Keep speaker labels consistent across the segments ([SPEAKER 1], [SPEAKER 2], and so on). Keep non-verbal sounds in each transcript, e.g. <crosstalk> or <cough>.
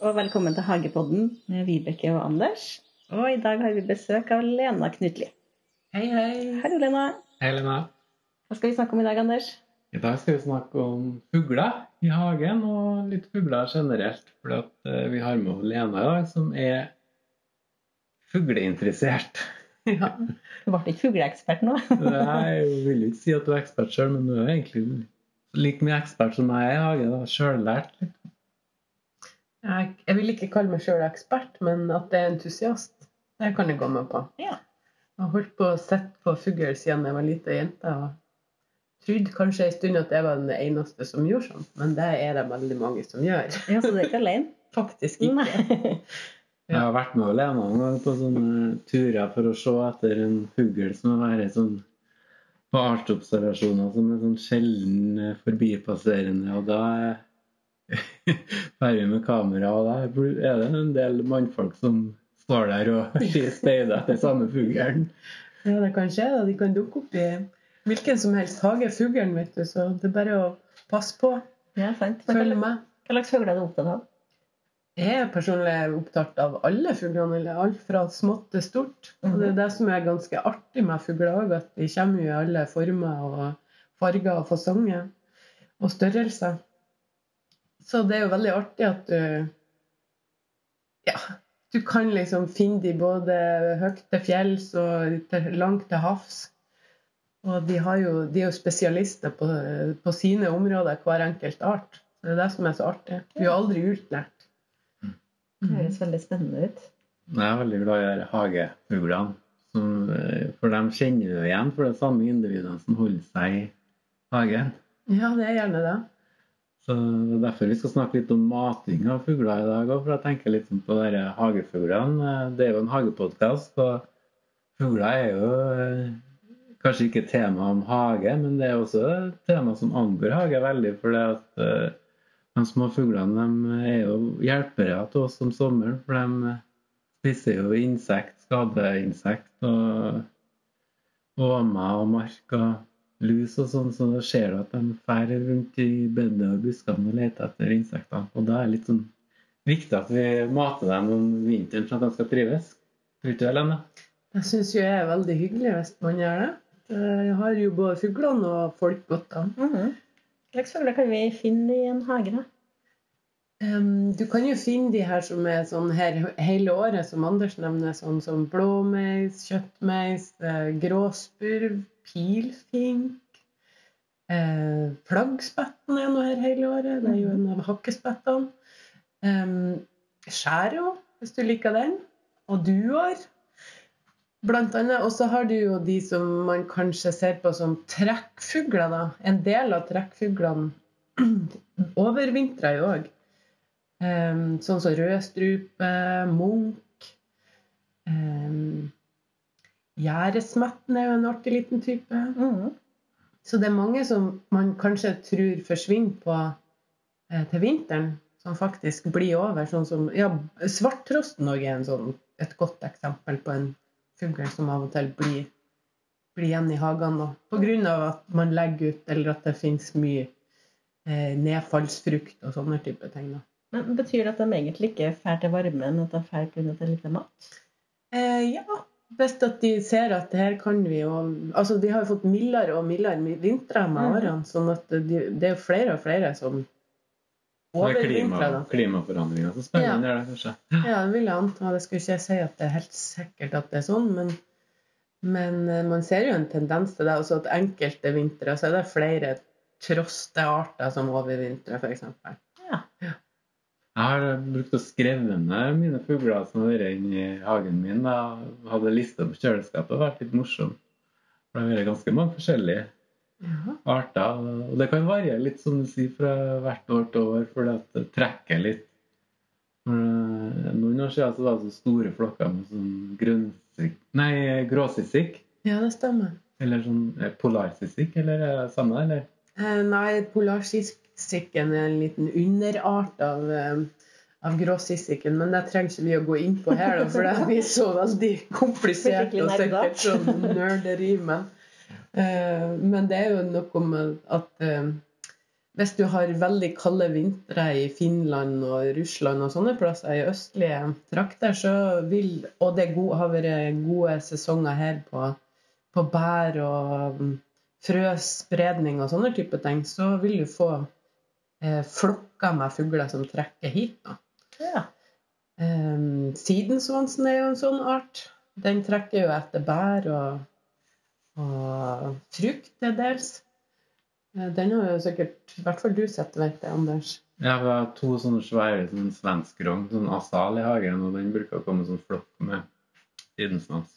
[SPEAKER 1] og velkommen til Hagepodden med Vibeke og Anders. Og i dag har vi besøk av Lena Knutli.
[SPEAKER 2] Hei, hei.
[SPEAKER 1] Hallo, Lena.
[SPEAKER 2] Hei, Lena.
[SPEAKER 1] Hva skal vi snakke om i dag, Anders?
[SPEAKER 2] I dag skal vi snakke om fugler i hagen, og litt fugler generelt. For at eh, vi har med oss Lena i dag, som er fugleinteressert. ja.
[SPEAKER 1] Du ble ikke fugleekspert nå?
[SPEAKER 2] Nei, Jeg vil jo ikke si at du er ekspert sjøl, men du er egentlig like mye ekspert som jeg er i hage. da, Sjøllært. liksom. litt.
[SPEAKER 3] Jeg, jeg vil ikke kalle meg sjøl ekspert, men at jeg er entusiast, det kan jeg gå med på.
[SPEAKER 1] Ja.
[SPEAKER 3] Jeg har holdt på å sitte på fugl siden jeg var lita jente. og trodde kanskje en stund at jeg var den eneste som gjorde sånn, men det er det veldig mange som gjør.
[SPEAKER 1] Ja, <laughs> Så du er ikke alene?
[SPEAKER 3] Faktisk ikke.
[SPEAKER 1] Nei.
[SPEAKER 2] Jeg har vært med Lena noen gang på sånne turer for å se etter en fugl som har vært sånn på artsobservasjoner som er sånn sjelden eh, forbipasserende. Og da <laughs> drar vi med kamera, og da blir- er det en del mannfolk som står der og <laughs> speider etter samme fuglen.
[SPEAKER 3] Ja, det kan skje. da. De kan dukke opp i hvilken som helst hage. Fuglen, vet du, så det er bare å passe på.
[SPEAKER 1] Ja, sant. Hva
[SPEAKER 3] Følg
[SPEAKER 1] slags-
[SPEAKER 3] med.
[SPEAKER 1] hva slags fugler er du opptatt av?
[SPEAKER 3] Jeg er personlig opptatt av alle fuglene, eller alt fra smått til stort. Og det er det som er ganske artig med fugler òg, at de kommer jo i alle former og farger og fasonger og størrelser. Så det er jo veldig artig at eh, du Ja, du kan liksom finne de både høyt til fjells og til- langt til havs. Og de, har jo, de er jo spesialister på, på sine områder, hver enkelt art. Det er det som er så artig. Du er aldri utlært. Mm.
[SPEAKER 1] Det høres veldig spennende ut.
[SPEAKER 2] Jeg er veldig glad i de her hagefuglene. som, eh, For de kjenner du igjen, for det er samme individene som holder seg i hagen.
[SPEAKER 3] Ja, det er gjerne det.
[SPEAKER 2] Så det er derfor vi skal snakke litt om mating av fugler i dag òg. For jeg tenker litt sånn på de her hagefuglene. Det er jo en hagepodkast, og fugler er jo eh, kanskje ikke et tema om hage, men det er også et tema som angår hage veldig. For det at eh, de små fuglene de er jo hjelpere til oss om sommeren. For de spiser jo insekt, skadeinsekt og åmer og mark og lus og sånn, så da ser du at de fær rundt i bedene og buskene og leter etter insektene. Og da er det litt sånn viktig at vi mater dem om vinteren for at de skal trives. Tror ikke du det, Lene?
[SPEAKER 3] Jeg syns jo jeg er veldig hyggelig hvis man gjør det. Jeg har jo både fuglene og folk godt av.
[SPEAKER 1] Mhm. Hva slags fugler kan vi finne i en hage, da?
[SPEAKER 3] Em, Ehm, Du kan jo finne de her som er sånn her hele året, som Anders nevner, sånn som blåmeis, kjøttmeis, eh, gråspurv, pilfink eh, Flaggspetten er nå her hele året. Det er jo en av hakkespettene. Em, Skjæro, hvis du liker den. Og duer. Blant annet. Og så har du jo de som man kanskje ser på som trekkfugler, da. En del av trekkfuglene <clears throat> overvintrer jo òg. Ehm, sånn som rødstrupe, munk um, Gjerdesmetten er jo en artig liten type.
[SPEAKER 1] Mhm.
[SPEAKER 3] Så det er mange som man kanskje tror forsvinner på eh, til vinteren, som faktisk blir over. Sånn som, ja, Svarttrosten også er en sånn, et godt eksempel på en fugl som av og til blir, blir igjen i hagene. Pga. at man legger ut, eller at det finnes mye eh, nedfallsfrukt og sånne type ting. Da.
[SPEAKER 1] Men Betyr det at de egentlig ikke drar til varme, men at de drar pga. lite mat?
[SPEAKER 3] Eh, ja, best at de ser at det her kan vi jo Altså, de har jo fått mildere og mildere vintre med
[SPEAKER 1] Mhm.
[SPEAKER 3] årene, sånn at de, det er jo flere og flere som
[SPEAKER 2] Det er altså. klima,
[SPEAKER 3] overvintrer, da.
[SPEAKER 2] klimaforandringer som spiller inn der, kanskje.
[SPEAKER 3] Ja, det vil jeg anta. Det skulle ikke jeg si at det er helt sikkert at det er sånn, men, men eh, man ser jo en tendens til det. Altså at enkelte vintre så er det flere trostearter som overvintrer, f.eks.
[SPEAKER 2] Jeg har eh, brukt å skreve ned mine fugler som har vært inni hagen min. da. hadde lista på kjøleskapet. Det har vært litt morsomt. For Det har vært ganske mange forskjellige
[SPEAKER 3] Ja.
[SPEAKER 2] arter. Og det kan variere litt, som du sier, fra hvert år til år, fordi at det trekker litt. For, eh, Noen år siden så var det så store flokker med sånn grønnsik... Nei, gråsisik.
[SPEAKER 3] ja, det stemmer.
[SPEAKER 2] Eller sånn eh, polarsisik, eller er det samme, eller?
[SPEAKER 3] Eh, nei, polarsissikken er en liten underart av, eh, av gråsissiken, men det trenger ikke vi å gå inn på her, da, for det blir så veldig komplisert
[SPEAKER 1] Skikkelig
[SPEAKER 3] og
[SPEAKER 1] nerda.
[SPEAKER 3] sikkert sånn nerderi. Men, eh, men det er jo noe med at eh, Hvis du har veldig kalde vintre i Finland og Russland og sånne plasser, i østlige trakter, så vil Og det er god, har vært gode sesonger her på, på bær og mm, frøspredning og sånne type ting, så vil du få eh, flokker med fugler som trekker hit. da.
[SPEAKER 1] Ja.
[SPEAKER 3] Um, sidensvansen er jo en sånn art. Den trekker jo etter bær og, og frukt til dels. Eh, Den har jo sikkert I hvert fall du sett, vet jeg, Anders.
[SPEAKER 2] Jeg har to sånne svære sånn svenskrogn, sånn asal i hagen, og den bruker å komme sånn flokk med sidensvans.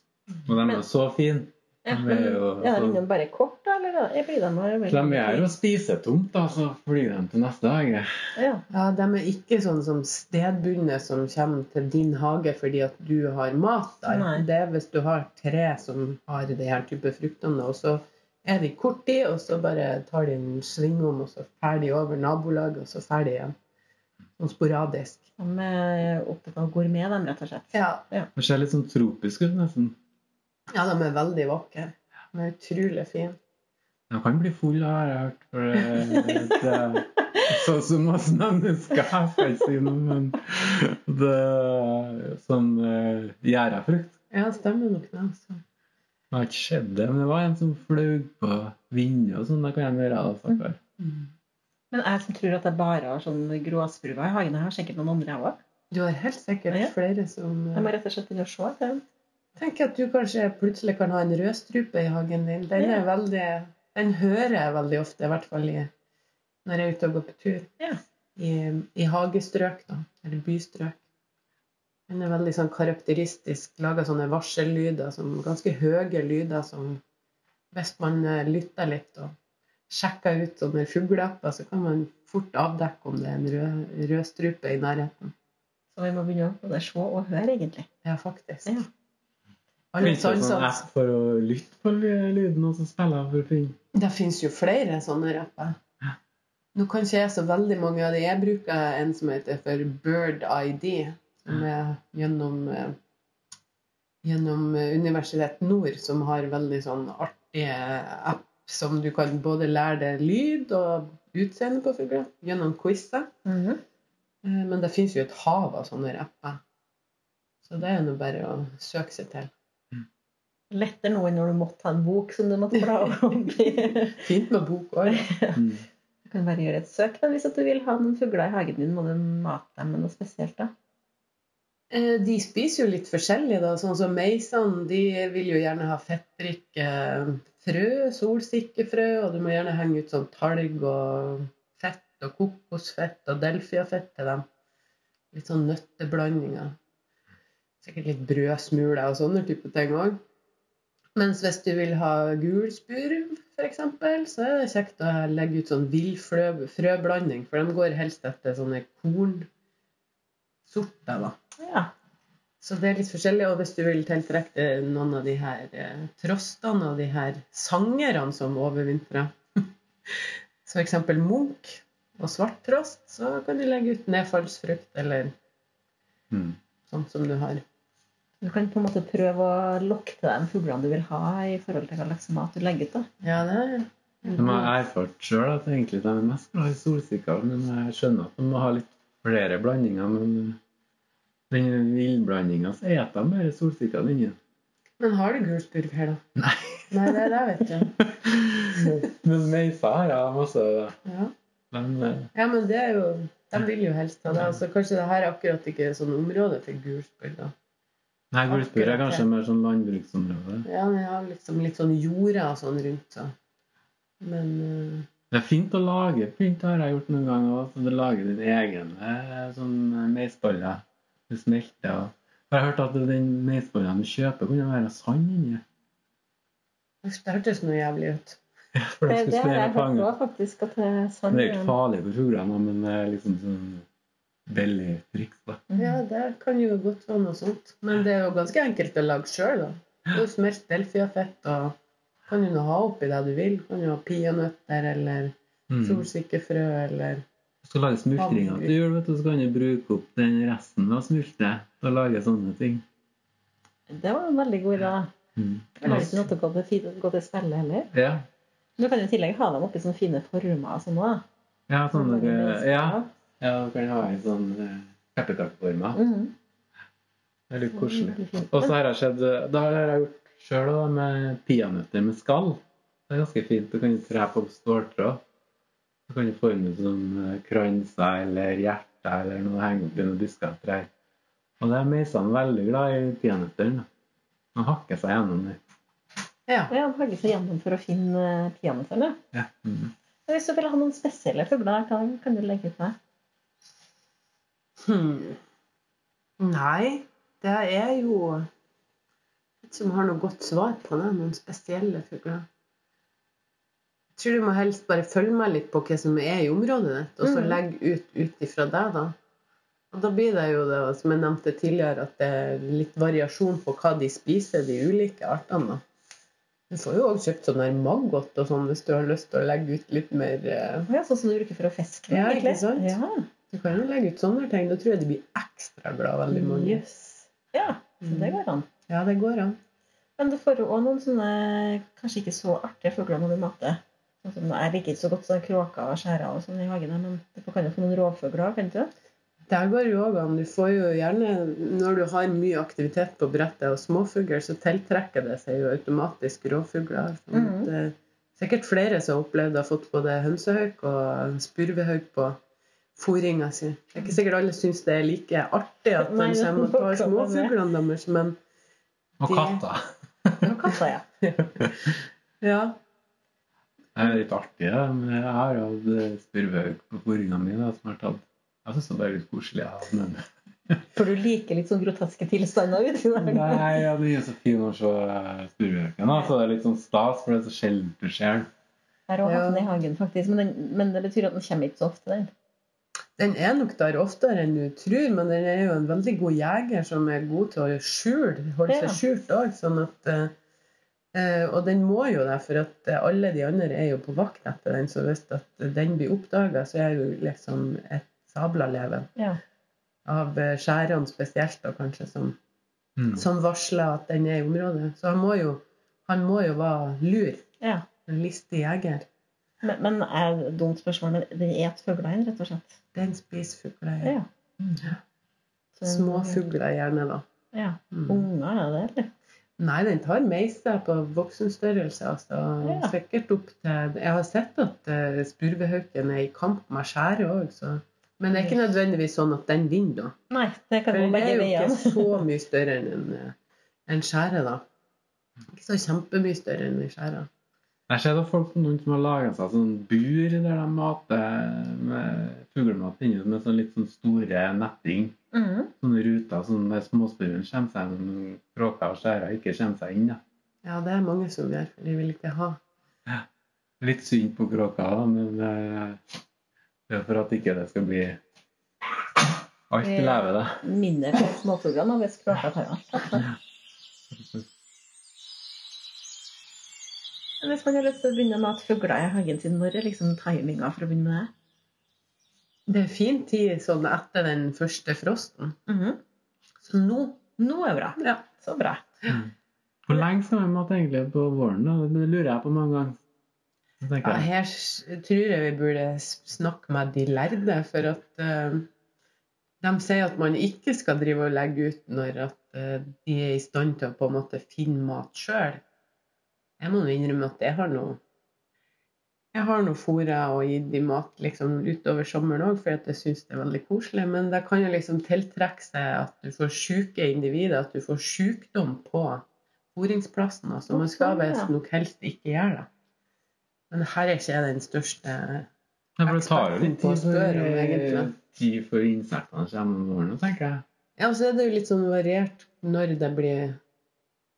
[SPEAKER 2] Og de er
[SPEAKER 1] Men-
[SPEAKER 2] jo så fine.
[SPEAKER 1] Ja,
[SPEAKER 2] De
[SPEAKER 1] men
[SPEAKER 2] er jo
[SPEAKER 1] ja, er
[SPEAKER 2] sånn-
[SPEAKER 1] den bare kort, da? Eller da? Jeg blir den bare veldig
[SPEAKER 2] De er jo spisetomt, da, så flyr de til neste hage.
[SPEAKER 1] Ja.
[SPEAKER 3] Ja, De er ikke sånn som stedbundne som kommer til din hage fordi at du har mat der.
[SPEAKER 1] Nei.
[SPEAKER 3] Det er hvis du har tre som har de her type fruktene, og så er de kort tid, og så bare tar de en sving om, og så ferdig over nabolaget, og så ferdig igjen. Sånn sporadisk.
[SPEAKER 1] De er opptatt av gourmet, dem, rett og slett.
[SPEAKER 3] Ja.
[SPEAKER 2] De ser litt sånn tropiske ut, nesten.
[SPEAKER 3] ja, de er veldig vakre. De er utrolig fine.
[SPEAKER 2] De kan bli full av, har jeg hørt. For det, det, sånn som oss mennesker, jeg skal ikke si noe, men det, Sånn eh, gjærafrukt.
[SPEAKER 3] Ja, stemmer nok det. altså.
[SPEAKER 2] Jeg har ikke sett det, men det var en som fløy på vinduet og sånn. Det kan jeg gjøre. Altså, for.
[SPEAKER 1] Men jeg som tror at jeg bare har sånn gråsbruer i hagen, jeg har sikkert noen andre òg.
[SPEAKER 3] Du har helt sikkert
[SPEAKER 1] Ja.
[SPEAKER 3] flere som eh,
[SPEAKER 1] Jeg må rett og slett begynne å se etter dem.
[SPEAKER 3] Tenk at du kanskje plutselig kan ha en rødstrupe i hagen din. Den, er veldig, den hører jeg veldig ofte, i hvert fall i, når jeg er ute og går på tur.
[SPEAKER 1] Ja.
[SPEAKER 3] I, I hagestrøk, da. Eller bystrøk. Den er veldig sånn karakteristisk. Lager sånne varsellyder, som, ganske høye lyder som Hvis man eh, lytter litt og sjekker ut sånne fugleapper, så kan man fort avdekke om det er en rød, rødstrupe i nærheten.
[SPEAKER 1] Så vi må begynne å både se og høre, egentlig.
[SPEAKER 3] Ja, faktisk.
[SPEAKER 1] Ja.
[SPEAKER 3] Alle
[SPEAKER 2] Finnes det en sånn
[SPEAKER 3] sansene
[SPEAKER 2] app for å lytte på lyden og så spille for å finne
[SPEAKER 3] Det fins jo flere sånne rapper. Nå kan ikke jeg så veldig mange av de. Jeg bruker en som heter for Bird ID, som er gjennom, eh, gjennom eh, Universitet Nord, som har veldig sånn artige app som du kan både lære deg lyd og utseende på fugler gjennom quizer. Eh, Men det fins jo et hav av sånne rapper. Så det er jo bare å søke seg til.
[SPEAKER 1] Lettere nå enn når du måtte ha en bok som du måtte bla opp i. Du
[SPEAKER 3] Fint med bok òg.
[SPEAKER 2] Mm.
[SPEAKER 1] kan bare gjøre et søk. Men hvis at du vil ha noen fugler i hagen din, må du mate dem med noe spesielt, da.
[SPEAKER 3] Eh, De spiser jo litt forskjellig, da. Sånn som meisene, de vil jo gjerne ha fettrike frø, solsikkefrø, og du må gjerne henge ut sånn talg og fett og kokosfett og delfiafett til dem. Litt sånn nøtteblandinger. Sikkert litt brødsmuler og sånne type ting òg. Mens hvis du vil ha gulspurv, f.eks., så er det kjekt å legge ut sånn villfrøblanding, frøblanding, for de går helst etter sånne kornsorter, da.
[SPEAKER 1] Ja.
[SPEAKER 3] Så det er litt forskjellig. Og hvis du vil tiltrekke deg noen av de her eh, trostene og de her sangerne som overvintrer, <laughs> så for eksempel munk og svarttrost, så kan du legge ut nedfallsfrukt eller
[SPEAKER 2] Mm.
[SPEAKER 3] sånt som du har.
[SPEAKER 1] Du kan på en måte prøve å lokke til deg de fuglene du vil ha, i forhold til hva slags mat du legger ut. da.
[SPEAKER 3] Ja, det er
[SPEAKER 2] De har erfart sjøl at egentlig de er mest glad i solsikker, men jeg skjønner at de må ha litt flere blandinger. Men den villblandinga så eter de bare solsikkene <laughs> inni.
[SPEAKER 3] Men har du gulspurv her, da?
[SPEAKER 2] Nei.
[SPEAKER 3] <laughs> Nei, det er det, vet du.
[SPEAKER 2] Men meisa har jeg masse.
[SPEAKER 3] Ja.
[SPEAKER 2] Men eh,
[SPEAKER 3] ja, men det er jo De vil jo helst ha det. Altså, kanskje det her akkurat ikke er sånn område for gulspurv, da.
[SPEAKER 2] nei, gulspurv er kanskje mer sånn landbruksområde.
[SPEAKER 3] Ja, den har liksom litt sånn jorda og sånn rundt seg. Men eh,
[SPEAKER 2] Det er fint å lage pynt, har jeg gjort noen ganger òg. Du lager din egen eh, sånn meisbolle. Du smelter og Jeg har hørt at den meisbollen du kjøper, kunne være sand inni.
[SPEAKER 3] Uff, eh, Det hørtes noe jævlig ut.
[SPEAKER 2] For
[SPEAKER 1] Det,
[SPEAKER 2] det
[SPEAKER 1] det
[SPEAKER 2] skulle
[SPEAKER 1] har
[SPEAKER 2] sneve
[SPEAKER 1] jeg hørt
[SPEAKER 2] fanget.
[SPEAKER 1] òg, faktisk. At det er sant.
[SPEAKER 2] Det er jo ikke farlig for fuglene, men det er liksom sånn veldig triks. da.
[SPEAKER 1] Mhm.
[SPEAKER 3] Ja, det kan jo godt være noe sånt. Men det er jo ganske enkelt å lage sjøl, da. Du smelt delfiafett og kan jo nå ha oppi det du vil. Kan jo ha peanøtter eller
[SPEAKER 2] Mm.
[SPEAKER 3] solsikkefrø eller
[SPEAKER 2] Skal lage smultringer til jul, vet du, så kan du bruke opp den resten av smultret til å lage sånne ting.
[SPEAKER 1] Det var en veldig god idé.
[SPEAKER 2] Mm.
[SPEAKER 1] Jeg har ikke noe til å gå til, fint å gå til spille heller.
[SPEAKER 2] Ja,
[SPEAKER 1] Du kan jo i tillegg ha dem oppi sånne fine former og sånn også.
[SPEAKER 2] Ja, sånn
[SPEAKER 1] Sånn
[SPEAKER 2] eh,
[SPEAKER 1] minst,
[SPEAKER 2] ja. ja, du kan ha en sånn eh, pepperkakeforma.
[SPEAKER 1] Mhm.
[SPEAKER 2] Det er litt koselig.
[SPEAKER 1] Veldig fint.
[SPEAKER 2] Og så har jeg skjedd Da har jeg gjort sjøl med peanøtter med skall. Det er ganske fint. Du kan tre på ståltråd. Du kan forme det som eh, kranser eller hjerter eller noe å henge opp i noen disker og trær. Og det er meisene veldig glad i peanøtter. da. De hakker seg gjennom det.
[SPEAKER 3] Ja.
[SPEAKER 1] Ja, han hagger seg gjennom for å finne eh, peanøttene.
[SPEAKER 2] Ja. Mm.
[SPEAKER 1] Men Hvis du vil ha noen spesielle fugler, kan, kan du legge ut meg.
[SPEAKER 3] Hmm. Nei, det er jo Ikke som har noe godt svar på det, noen spesielle fugler. Jeg tror du må helst bare følge med litt på hva som er i området ditt, og så
[SPEAKER 1] Mhm.
[SPEAKER 3] legge ut ut ifra deg, da. Og da blir det jo det som jeg nevnte tidligere, at det er litt variasjon på hva de spiser, de ulike artene. da. Du får jo òg kjøpt sånn der maggot og sånn hvis du har lyst til å legge ut litt mer eh,
[SPEAKER 1] Ja, sånn som du bruker for å fiske.
[SPEAKER 3] Ja, ikke
[SPEAKER 1] egentlig.
[SPEAKER 3] sant?
[SPEAKER 1] Ja.
[SPEAKER 3] Du kan jo legge ut sånne ting. Da tror jeg de blir ekstra glad
[SPEAKER 1] Mm.
[SPEAKER 3] veldig mange.
[SPEAKER 1] Yes. Ja, så det går an.
[SPEAKER 3] Ja, det går an.
[SPEAKER 1] Men du får jo også noen sånne kanskje ikke så artige fugler når du matter. Sånn som- Jeg liker ikke så godt sånne kråker og skjærer og sånn i hagen, her, men du får- kan jo få noen rovfugler òg, kan du ikke det?
[SPEAKER 3] Der går jo også an. Du får jo gjerne, når du har mye aktivitet på brettet og småfugl, så tiltrekker det seg jo automatisk rovfugler. Sånn at,
[SPEAKER 1] Mhm.
[SPEAKER 3] eh, Sikkert flere som har opplevd å ha fått både hønsehauk og spurvehauk på fôringa si. Det er ikke sikkert alle syns det er like artig at de
[SPEAKER 1] Nei, det
[SPEAKER 3] kommer og tar
[SPEAKER 1] kan man det.
[SPEAKER 3] småfuglene deres, men
[SPEAKER 2] Og
[SPEAKER 3] Det-
[SPEAKER 2] katter.
[SPEAKER 1] Og katter, ja.
[SPEAKER 3] ja.
[SPEAKER 2] Det er litt artig. Ja. Men Jeg har jo hatt eh, spurvehauk på fôringa mi da, som jeg har tatt. Jeg syns det er bare litt koselig. Ja. Men
[SPEAKER 1] For du liker litt sånn groteske tilstander ute i verden.
[SPEAKER 2] Nei, ja, det er så fin å se spurveøken. da, Så det er litt sånn stas, for det er så sjelden du ser den.
[SPEAKER 1] Jeg har også hatt
[SPEAKER 3] Ja.
[SPEAKER 1] den i hagen, faktisk. Men, den, men det betyr at den kommer ikke så ofte, den.
[SPEAKER 3] Den er nok der oftere enn du tror, men den er jo en veldig god jeger som er god til å skjule, holde
[SPEAKER 1] Ja.
[SPEAKER 3] seg skjult òg. Sånn at, eh, eh, og den må jo det, for at eh, alle de andre er jo på vakt etter den. Så hvis at den blir oppdaga, så er jo liksom et sabla leven
[SPEAKER 1] Ja.
[SPEAKER 3] av eh, skjærene spesielt, da kanskje, som,
[SPEAKER 2] Mm.
[SPEAKER 3] som varsler at den er i området. Så han må jo, han må jo være lur.
[SPEAKER 1] Ja.
[SPEAKER 3] En listig jeger.
[SPEAKER 1] Men, men er det et dumt spørsmål, men den et fuglein, rett og slett.
[SPEAKER 3] Den spiser fugler.
[SPEAKER 1] Ja. Så-
[SPEAKER 3] Små fugler gjerne, da.
[SPEAKER 1] Ja.
[SPEAKER 3] Mm.
[SPEAKER 1] Unger er det, eller?
[SPEAKER 3] Nei, den tar meiser på voksenstørrelse. Altså,
[SPEAKER 1] Ja.
[SPEAKER 3] Sikkert opp til Jeg har sett at eh, spurvehauken er i kamp med skjæret òg, så Men det er ikke nødvendigvis sånn at den vinner, da.
[SPEAKER 1] Nei, det kan
[SPEAKER 3] For
[SPEAKER 1] gå
[SPEAKER 3] den er
[SPEAKER 1] begge
[SPEAKER 3] jo ikke
[SPEAKER 1] veier.
[SPEAKER 3] så mye større enn en, eh, en skjære, da. Ikke så kjempemye større enn en skjære.
[SPEAKER 2] Jeg ser da folk noen som har laga seg sånn bur der de mater med fuglemat inni med sånn litt sånn store netting.
[SPEAKER 1] Mhm.
[SPEAKER 2] Sånne ruter sånn der småspurven kommer seg gjennom kråker og skjærer ikke kommer seg inn. da.
[SPEAKER 3] Ja, det er mange som gjør, for de vil ikke ha
[SPEAKER 2] Litt synd på kråka, da, men eh, det er for at ikke det skal bli Eh, alt i leve, da.
[SPEAKER 1] Mindre for småfuglene og hvis kråka tar den. Men Hvis man har lyst til å begynne med at fugler i hagen sin, når er liksom timinga for å begynne med det?
[SPEAKER 3] Det er fin tid sånn etter den første frosten.
[SPEAKER 1] Mhm.
[SPEAKER 3] Så nå
[SPEAKER 1] Nå er bra.
[SPEAKER 3] Ja.
[SPEAKER 1] Så bra.
[SPEAKER 2] Mm. Hvor lenge skal vi mate egentlig på våren? da? Det lurer jeg på mange ganger. Så tenker
[SPEAKER 3] Ja,
[SPEAKER 2] jeg,
[SPEAKER 3] her s- tror jeg vi burde s- snakke med de lærde, for at eh, de sier at man ikke skal drive og legge ut når at eh, de er i stand til å på en måte finne mat sjøl. Jeg må nå innrømme at jeg har noe jeg har noe fôra og gitt dem mat liksom, utover sommeren òg, for at jeg syns det er veldig koselig. Men det kan jo liksom tiltrekke seg at du får sjuke individer, at du får sjukdom på fôringsplassen. Altså, man skal
[SPEAKER 1] Sånn, ja.
[SPEAKER 3] visst nok helst ikke gjøre det. Men her er ikke jeg den største
[SPEAKER 2] Ja, for det tar jo litt tid eh,
[SPEAKER 3] Eksperten spør om egentlig.
[SPEAKER 2] tid for insektene kommer om våren, tenker jeg.
[SPEAKER 3] Ja, og så er det jo litt sånn variert når det blir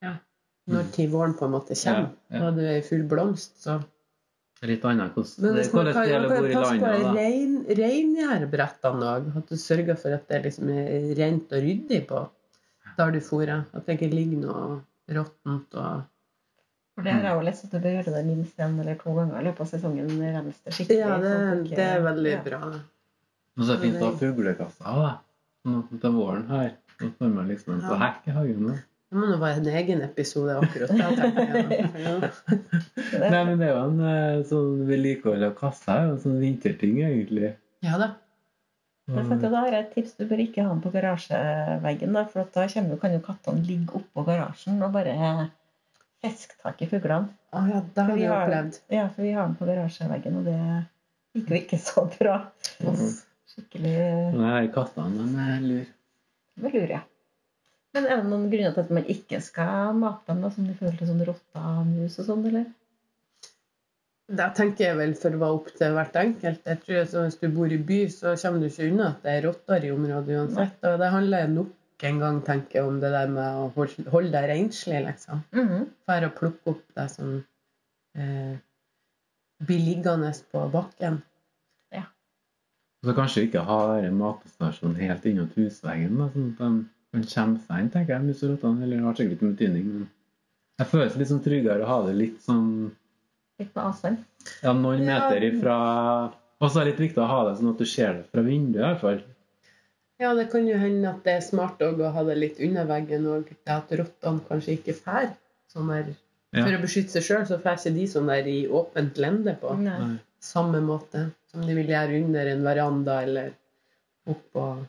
[SPEAKER 3] Ja. Når til våren på en måte kommer.
[SPEAKER 2] Mm. Ja, ja.
[SPEAKER 3] Når det er i full blomst, så
[SPEAKER 2] Det er Litt annet hvordan
[SPEAKER 3] Men
[SPEAKER 2] det
[SPEAKER 3] hvis man
[SPEAKER 2] hvordan
[SPEAKER 3] kan,
[SPEAKER 2] det
[SPEAKER 3] man
[SPEAKER 2] gjelder
[SPEAKER 3] kan
[SPEAKER 2] hvor i
[SPEAKER 3] passe på
[SPEAKER 2] landet. da.
[SPEAKER 3] rein, reingjærbrettene òg. At du sørger for at det liksom er rent og ryddig på der du fôrer. At det ikke ligger noe råttent og
[SPEAKER 1] For det har jeg jo lest at du bør gjøre det minst en eller to ganger i løpet av sesongen. Rens det skikkelig.
[SPEAKER 3] Ja, det,
[SPEAKER 1] sånn at ikke-
[SPEAKER 3] det er veldig
[SPEAKER 1] Ja.
[SPEAKER 3] bra.
[SPEAKER 2] Og så er det fint å ha fuglekasser da. Sånn at til våren her. Så får man liksom en
[SPEAKER 3] Ja.
[SPEAKER 2] hekk i hagen. da.
[SPEAKER 3] Det må nå være en egen episode akkurat da, tenker jeg. Ja.
[SPEAKER 1] Det
[SPEAKER 2] Nei,
[SPEAKER 1] er
[SPEAKER 2] men det er jo en eh, sånn vedlikehold av kassa. er jo En sånn vinterting, egentlig.
[SPEAKER 3] ja da.
[SPEAKER 1] Det er fett, og da har jeg et tips. Du bør ikke ha den på garasjeveggen, da, for at da kommer, jo- kan jo kattene ligge oppå garasjen og bare feske tak i fuglene.
[SPEAKER 3] Å ja, det har
[SPEAKER 1] Vi
[SPEAKER 3] jeg
[SPEAKER 1] har-
[SPEAKER 3] opplevd.
[SPEAKER 1] Ja, for vi har den på garasjeveggen, og det gikk jo ikke så bra.
[SPEAKER 3] Uff.
[SPEAKER 1] Skikkelig
[SPEAKER 2] Nei, eh, kattene de er lur.
[SPEAKER 1] det lurer jeg. Men er det noen grunner til at man ikke skal mate dem, da, som de føler til sånn rotter og mus og sånn, eller?
[SPEAKER 3] Det tenker jeg vel for hva opp til hvert enkelt. Jeg tror at Hvis du bor i by, så kommer du ikke unna at det er rotter i området uansett. Og det handler nok en gang, tenker jeg, om det der med å hold- holde deg renslig, liksom.
[SPEAKER 1] Mhm.
[SPEAKER 3] Fær å plukke opp det som eh, blir liggende på bakken.
[SPEAKER 2] Så kanskje ikke ha den matstasjonen helt innat husveggen, da, sånn at de kan komme seg inn, tenker jeg. Mus og rottene eller har sikkert ikke betydning, men jeg føles litt sånn tryggere å ha det litt sånn
[SPEAKER 1] Litt med avstand.
[SPEAKER 2] ja, noen
[SPEAKER 3] Ja.
[SPEAKER 2] meter ifra Og så er det litt viktig å ha det sånn at du ser det fra vinduet, i hvert fall.
[SPEAKER 3] Ja, det kan jo hende at det er smart òg å ha det litt under veggen og at rottene kanskje ikke fær. Sånn der,
[SPEAKER 2] Ja.
[SPEAKER 3] For å beskytte seg sjøl, så fær ikke de sånn der i åpent lende på
[SPEAKER 1] Nei. <laughs>
[SPEAKER 3] samme måte som de vil gjøre under en veranda eller opp og,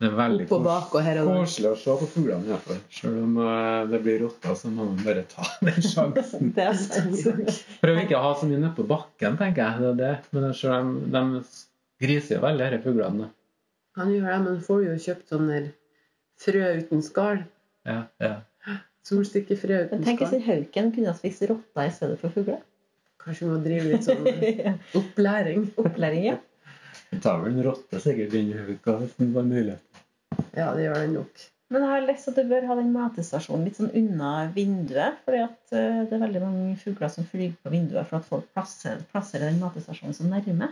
[SPEAKER 2] Det er veldig
[SPEAKER 3] opp og bak og her og der.
[SPEAKER 2] koselig å se på fuglene, i hvert fall. Selv om eh, det blir rotter, så må man bare ta <laughs> den sjansen.
[SPEAKER 3] Det er <laughs> sant.
[SPEAKER 2] Prøv ikke å ha så mye nede på bakken, tenker jeg. Det er det. Men jeg ser de, de griser jo veldig, disse fuglene.
[SPEAKER 3] Han gjør det, men får jo kjøpt sånne frø uten skall.
[SPEAKER 2] Ja, ja.
[SPEAKER 3] Solstikkefrø
[SPEAKER 1] Men
[SPEAKER 3] uten
[SPEAKER 1] tenk hvis
[SPEAKER 3] skall.
[SPEAKER 1] en hauken kunne ha spist rotter i stedet for <laughs> fugler?
[SPEAKER 3] Kanskje vi må drive litt sånn eh, opplæring.
[SPEAKER 1] <laughs> Opplæring, ja.
[SPEAKER 2] Det tar vel en rotte sikkert inn i huka hvis den var mulig.
[SPEAKER 3] Ja, det gjør den nok.
[SPEAKER 1] Men jeg har lest at du bør ha den matestasjonen litt sånn unna vinduet. fordi at eh, det er veldig mange fugler som flyr på vinduet for at folk plasserer, plasserer den matestasjonen så nærme.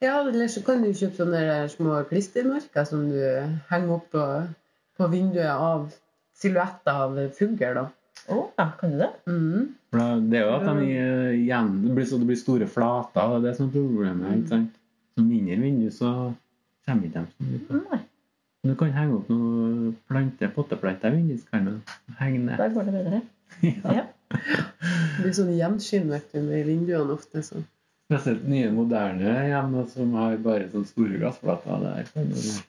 [SPEAKER 3] Ja, eller så kan du kjøpe sånne der små klistremerker som du eh, henger opp på, på vinduet av silhuetter av fugler, da.
[SPEAKER 1] Å, ja, kan du det?
[SPEAKER 3] Mm.
[SPEAKER 2] For det- Det er jo at de eh, igjen, det blir, så det blir store flater. Det er det som er problemet. ikke sant? Så mindre vindu, så kommer ikke de så mye på.
[SPEAKER 1] Mm, Nei,
[SPEAKER 2] Men Du kan henge opp noen planter, potteplanter i vinduskarmen. Henge <laughs> ned.
[SPEAKER 1] da går det bedre.
[SPEAKER 2] <laughs>
[SPEAKER 1] Ja. <laughs>
[SPEAKER 3] Det blir sånn gjenskinn vet du, med vinduene ofte. Så.
[SPEAKER 2] Spesielt nye, moderne hjem da, som har bare sånne store glassflater. Det er sånn det-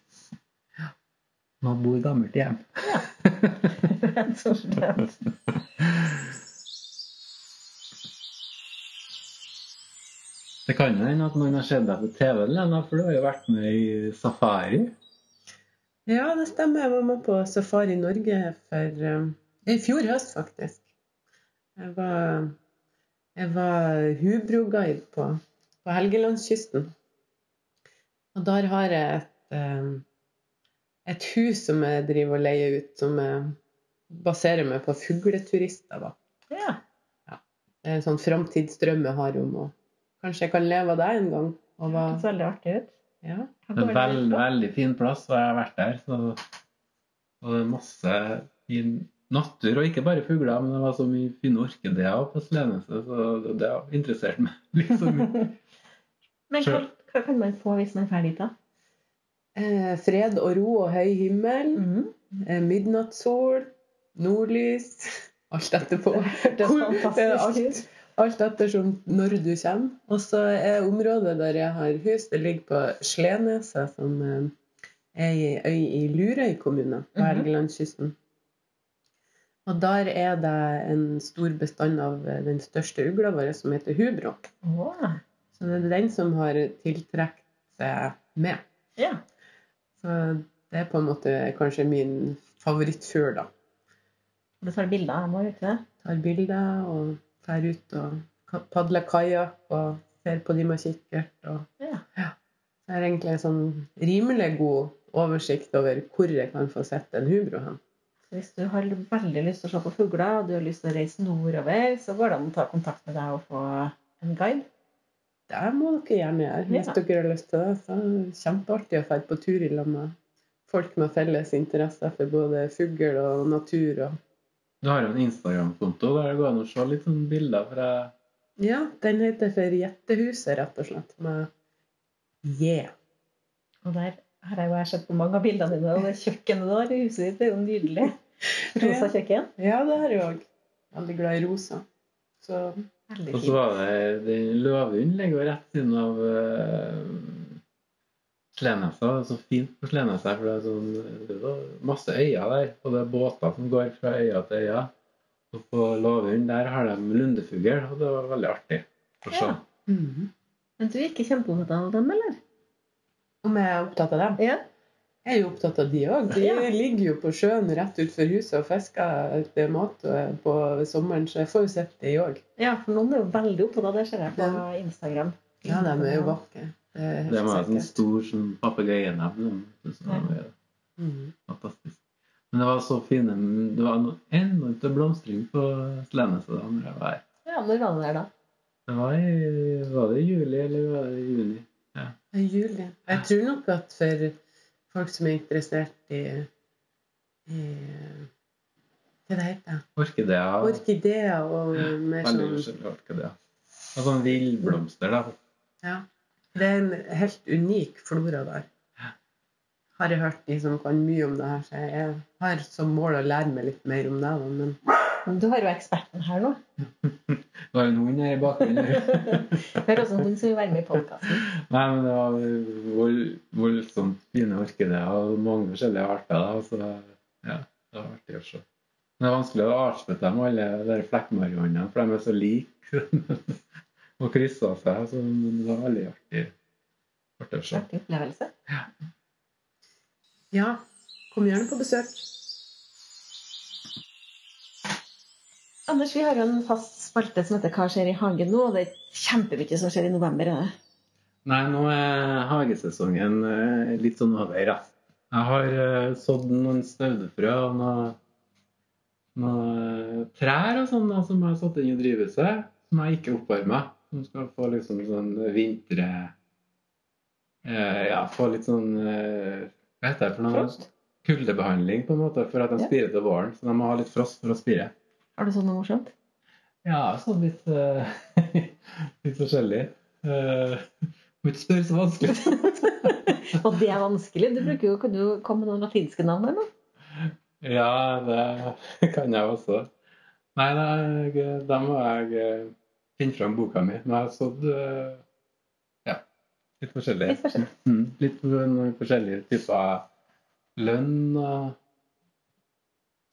[SPEAKER 2] Man bor i gammelt hjem.
[SPEAKER 1] Rett og slett.
[SPEAKER 2] <laughs> Det kan jo hende at noen har sett deg på TV, Lena, for du har jo vært med i Safari.
[SPEAKER 3] Ja, det stemmer. Jeg var med på Safari Norge for eh, i fjor høst, faktisk. Jeg var, jeg var hubroguide på, på Helgelandskysten. Og der har jeg et, eh, et hus som jeg driver og leier ut, som jeg baserer meg på fugleturister. da.
[SPEAKER 1] Ja.
[SPEAKER 3] Det er en sånn framtidsdrøm jeg har om å Kanskje jeg kan leve av det en gang? Og hva,
[SPEAKER 1] Det ser veldig artig ut.
[SPEAKER 3] ja.
[SPEAKER 1] Her
[SPEAKER 2] Det er
[SPEAKER 1] går
[SPEAKER 2] en
[SPEAKER 1] det
[SPEAKER 2] veld,
[SPEAKER 1] litt opp.
[SPEAKER 2] veldig fin plass, og jeg har vært der. Så, og det er masse fin natur, og ikke bare fugler, men det var så mye fine orkideer på Sleneset, så det- det har interessert meg <laughs> litt så mye.
[SPEAKER 1] Men hva, hva kan man få hvis man er ferdig da?
[SPEAKER 3] Eh, Fred og ro og høy himmel.
[SPEAKER 1] Mhm.
[SPEAKER 3] Eh, Midnattssol, nordlys <laughs> Alt etterpå. eh,
[SPEAKER 1] Det er fantastisk ut.
[SPEAKER 3] Alt ettersom når du kommer. Og så er området der jeg har hus, det ligger på Sleneset, som eh, er ei øy i Lurøy kommune på
[SPEAKER 1] Mhm.
[SPEAKER 3] Helgelandskysten. Og der er det en stor bestand av eh, den største ugla vår, som heter hubro.
[SPEAKER 1] Å,
[SPEAKER 3] Så det er den som har tiltrukket seg med.
[SPEAKER 1] Ja.
[SPEAKER 3] Så det er på en måte kanskje min favorittfugl, da.
[SPEAKER 1] Du tar bilder av dem òg, ikke det?
[SPEAKER 3] Tar bilder og drar ut og ka- padler kajakk og ser på de med kikkert. Og
[SPEAKER 1] Ja.
[SPEAKER 3] så har jeg egentlig en sånn rimelig god oversikt over hvor jeg kan få sett en hubro hen.
[SPEAKER 1] Hvis du har veldig lyst til å se på fugler, og du har lyst til å reise nordover, så går det an å ta kontakt med deg og få en guide.
[SPEAKER 3] Det må dere gjerne gjøre hvis
[SPEAKER 1] Ja.
[SPEAKER 3] dere har lyst til det. Så er det kjempeartig å dra på tur i lag med folk med felles interesser for både fugl og natur. Og
[SPEAKER 2] Du har jo en Instagram-konto der det går an å se litt sånn bilder fra
[SPEAKER 3] ja, den heter for Gjettehuset, rett og slett. Med J.
[SPEAKER 1] Og der har jeg jo jeg sett på mange av bildene dine, og det kjøkkenet der i huset ditt det er jo nydelig. <laughs> Rosa kjøkken.
[SPEAKER 3] Ja, det har jeg òg. Veldig glad i rosa. Så
[SPEAKER 1] Veldig
[SPEAKER 2] Og så
[SPEAKER 1] fint.
[SPEAKER 2] var det den Løvhund ligger jo rett siden av uh, Slenesa. Det er så fint på Slenesa, for det er, sånn, det er så masse øyer der. Og det er båter som går fra øya til øya. Og på Løvhund der har de lundefugl, og det var veldig artig. å se.
[SPEAKER 1] Ja. Men du er ikke kjempeopptatt av dem, eller?
[SPEAKER 3] Om jeg er opptatt av dem?
[SPEAKER 1] Ja.
[SPEAKER 3] Jeg er jo opptatt av de òg. De
[SPEAKER 1] Ja.
[SPEAKER 3] ligger jo på sjøen rett utenfor huset og fisker etter mat eh, på sommeren, så jeg får jo sett de òg.
[SPEAKER 1] ja, for noen er jo veldig opptatt av det, ser jeg på
[SPEAKER 3] Ja.
[SPEAKER 1] Instagram.
[SPEAKER 3] Ja, de er jo vakre. Det er helt
[SPEAKER 2] Det var en sånn
[SPEAKER 3] sikkert.
[SPEAKER 2] stor sånn papegøyenebb.
[SPEAKER 1] Ja.
[SPEAKER 3] Mhm.
[SPEAKER 2] Fantastisk. Men det var så fine Det var noe enormt blomstring på Slenesa da når jeg var her.
[SPEAKER 1] Ja, når var det der, da?
[SPEAKER 2] Det var, i, var det i juli eller var det i juni?
[SPEAKER 3] Det er juli. Jeg tror nok at for folk som er interessert i, i Hva det heter
[SPEAKER 2] Orkideer.
[SPEAKER 3] Orkideer og mer
[SPEAKER 2] Veldig
[SPEAKER 3] sånn
[SPEAKER 2] forskjellig orkidé. Og sånn villblomster, da.
[SPEAKER 3] Ja. Det er en helt unik flora der. Har jeg hørt de som kan mye om det her, så jeg har som mål å lære meg litt mer om det. da, Men
[SPEAKER 1] Men Du har jo eksperten her nå. <laughs>
[SPEAKER 2] Det var jo en hund her i bakgrunnen.
[SPEAKER 1] Hører også en hund som vil være med i podkasten.
[SPEAKER 2] Nei, men det var vold, voldsomt fine orkideer og mange forskjellige arter. da, Så ja, det var artig å se. Men det er vanskelig å artsbette dem alle de der flekkmarihåndene, for de er så like. <laughs> og krysser seg. Så men det var veldig artig, artig å se.
[SPEAKER 1] Artig opplevelse.
[SPEAKER 3] ja, kom gjerne på besøk.
[SPEAKER 1] Anders, vi har jo en fast spalte som heter 'Hva skjer i hagen nå?' og Det er kjempemye som skjer i november. er det?
[SPEAKER 2] Nei, nå er hagesesongen eh, litt sånn over. da. Jeg har eh, sådd noen staudefrø og noen, noen trær og sånn da, som jeg har satt inn i drivhuset, som jeg ikke oppvarma. Som skal få liksom sånn vintre... eh, Ja, få litt sånn eh, Hva heter det for noe?
[SPEAKER 1] Frost?
[SPEAKER 2] Kuldebehandling, på en måte, for at de
[SPEAKER 1] Ja.
[SPEAKER 2] spirer til våren. Så de må ha litt frost for å spire.
[SPEAKER 1] Har du sånn noe morsomt?
[SPEAKER 2] Ja, sånn litt eh, <laughs> Litt forskjellig. Eh, Må ikke spørre så vanskelig.
[SPEAKER 1] <laughs> Og det er vanskelig. Du bruker jo, Kan du komme med noen latinske navn? eller? noe?
[SPEAKER 2] Ja, det <laughs> kan jeg også. Nei, nei, jeg- da må jeg eh, finne fram boka mi. Nå har jeg sådd eh, ja, litt forskjellig.
[SPEAKER 1] Litt forskjellig.
[SPEAKER 2] <laughs> Mm, litt for- noen forskjellige typer lønn. og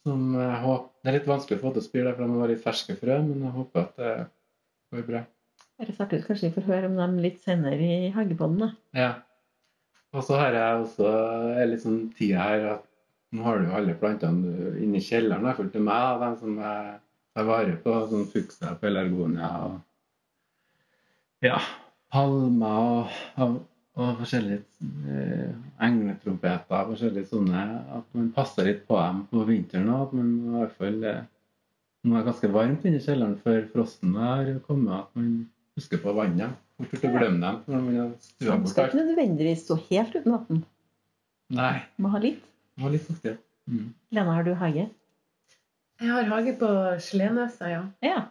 [SPEAKER 2] Som jeg håper, det er litt vanskelig å få til å spire, for de var litt ferske frø, men jeg håper at det går bra.
[SPEAKER 1] Dere snakker ut, Kanskje vi får høre om dem litt senere i Hagebånden. da.
[SPEAKER 2] Ja. Og så har jeg også er litt sånn tida her at nå har du jo alle plantene du- inni kjelleren, i hvert fall til meg, da, dem som jeg tar vare på. Sånn fuksia, pelargonia og ja, palmer og, og, og forskjellige eh, engletrompeter. Forskjellige sånne. At man passer litt på dem på vinteren og at man i hvert fall eh, Nå er det ganske varmt inni kjelleren før frosten har kommet, at man husker på vannet. Fort gjort å glemme dem når man har stua
[SPEAKER 1] De
[SPEAKER 2] bort
[SPEAKER 1] skal
[SPEAKER 2] alt.
[SPEAKER 1] ikke nødvendigvis stå helt uten vann.
[SPEAKER 2] Nei.
[SPEAKER 1] Må ha litt.
[SPEAKER 2] Det var litt fuktig. Mm.
[SPEAKER 1] Lena, har du hage?
[SPEAKER 3] Jeg har hage på Sleneset, ja.
[SPEAKER 1] Ja.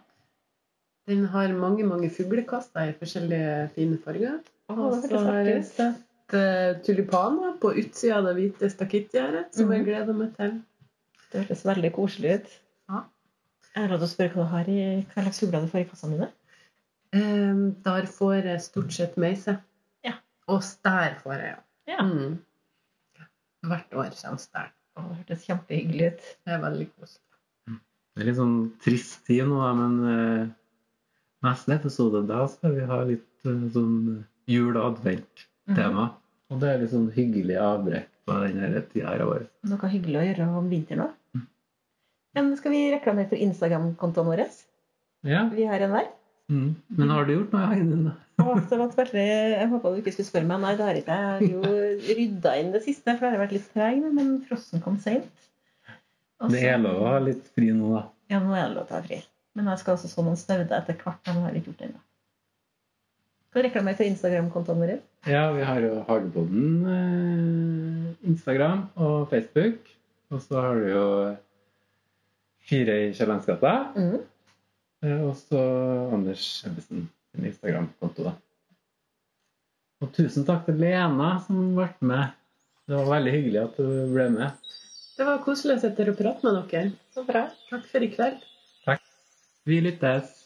[SPEAKER 3] Den har mange mange fuglekasser i forskjellige fine farger.
[SPEAKER 1] Å,
[SPEAKER 3] Og
[SPEAKER 1] det
[SPEAKER 3] så
[SPEAKER 1] hørtes
[SPEAKER 3] har
[SPEAKER 1] artig
[SPEAKER 3] jeg
[SPEAKER 1] ut.
[SPEAKER 3] sett eh, tulipaner på utsida av det hvite stakittgjerdet, som jeg gleder meg til.
[SPEAKER 1] Det hørtes veldig koselig ut.
[SPEAKER 3] Ja.
[SPEAKER 1] Jeg har lov til å spørre hva du har i hva slags fugler du får i kassene dine.
[SPEAKER 3] Eh, der får jeg stort sett meise.
[SPEAKER 1] Ja.
[SPEAKER 3] Og stær får jeg,
[SPEAKER 1] Ja.
[SPEAKER 3] Mm. Hvert år kommer stær.
[SPEAKER 1] Å, det hørtes kjempehyggelig ut.
[SPEAKER 3] Det er veldig koselig.
[SPEAKER 2] Det er litt sånn trist tid nå, da, men eh, neste episode da skal vi ha litt eh, sånn jul- og advent-tema. Og det er litt sånn hyggelig avbrekk på denne tida her av året.
[SPEAKER 1] Noe hyggelig å gjøre om vinteren òg.
[SPEAKER 2] Mm.
[SPEAKER 1] Men skal vi reklamere for Instagram-kontoen vår?
[SPEAKER 2] Ja.
[SPEAKER 1] Vi har en hver.
[SPEAKER 2] Mm. Men har du gjort noe i hagen din, da?
[SPEAKER 1] Å, så langt veldig- Jeg håpa du ikke skulle spørre meg. Nei, det har jeg ikke. Jeg har jo rydda inn det siste, for jeg har vært litt treg, nå, men frossen kom seint. Og
[SPEAKER 2] Det
[SPEAKER 1] så-
[SPEAKER 2] er lov å ha litt fri nå, da.
[SPEAKER 1] Ja, nå er det lov til å ta fri. Men jeg skal også så noen stauder etter hvert. men Jeg har ikke gjort det ennå. Skal vi reklamere for Instagram-kontoen vår?
[SPEAKER 2] Ja, vi har jo Hagebodden, eh, Instagram og Facebook. Og så har du jo eh, Fire i Kiellandsgata.
[SPEAKER 1] Mm.
[SPEAKER 2] Eh, Og så Anders Ebbesen sin Instagram-konto, da. Og tusen takk til Lena som ble med. Det var veldig hyggelig at du ble med.
[SPEAKER 3] Det var koselig å sitte og prate med dere.
[SPEAKER 1] Så bra.
[SPEAKER 3] Takk for i kveld.
[SPEAKER 2] Vi lyttes.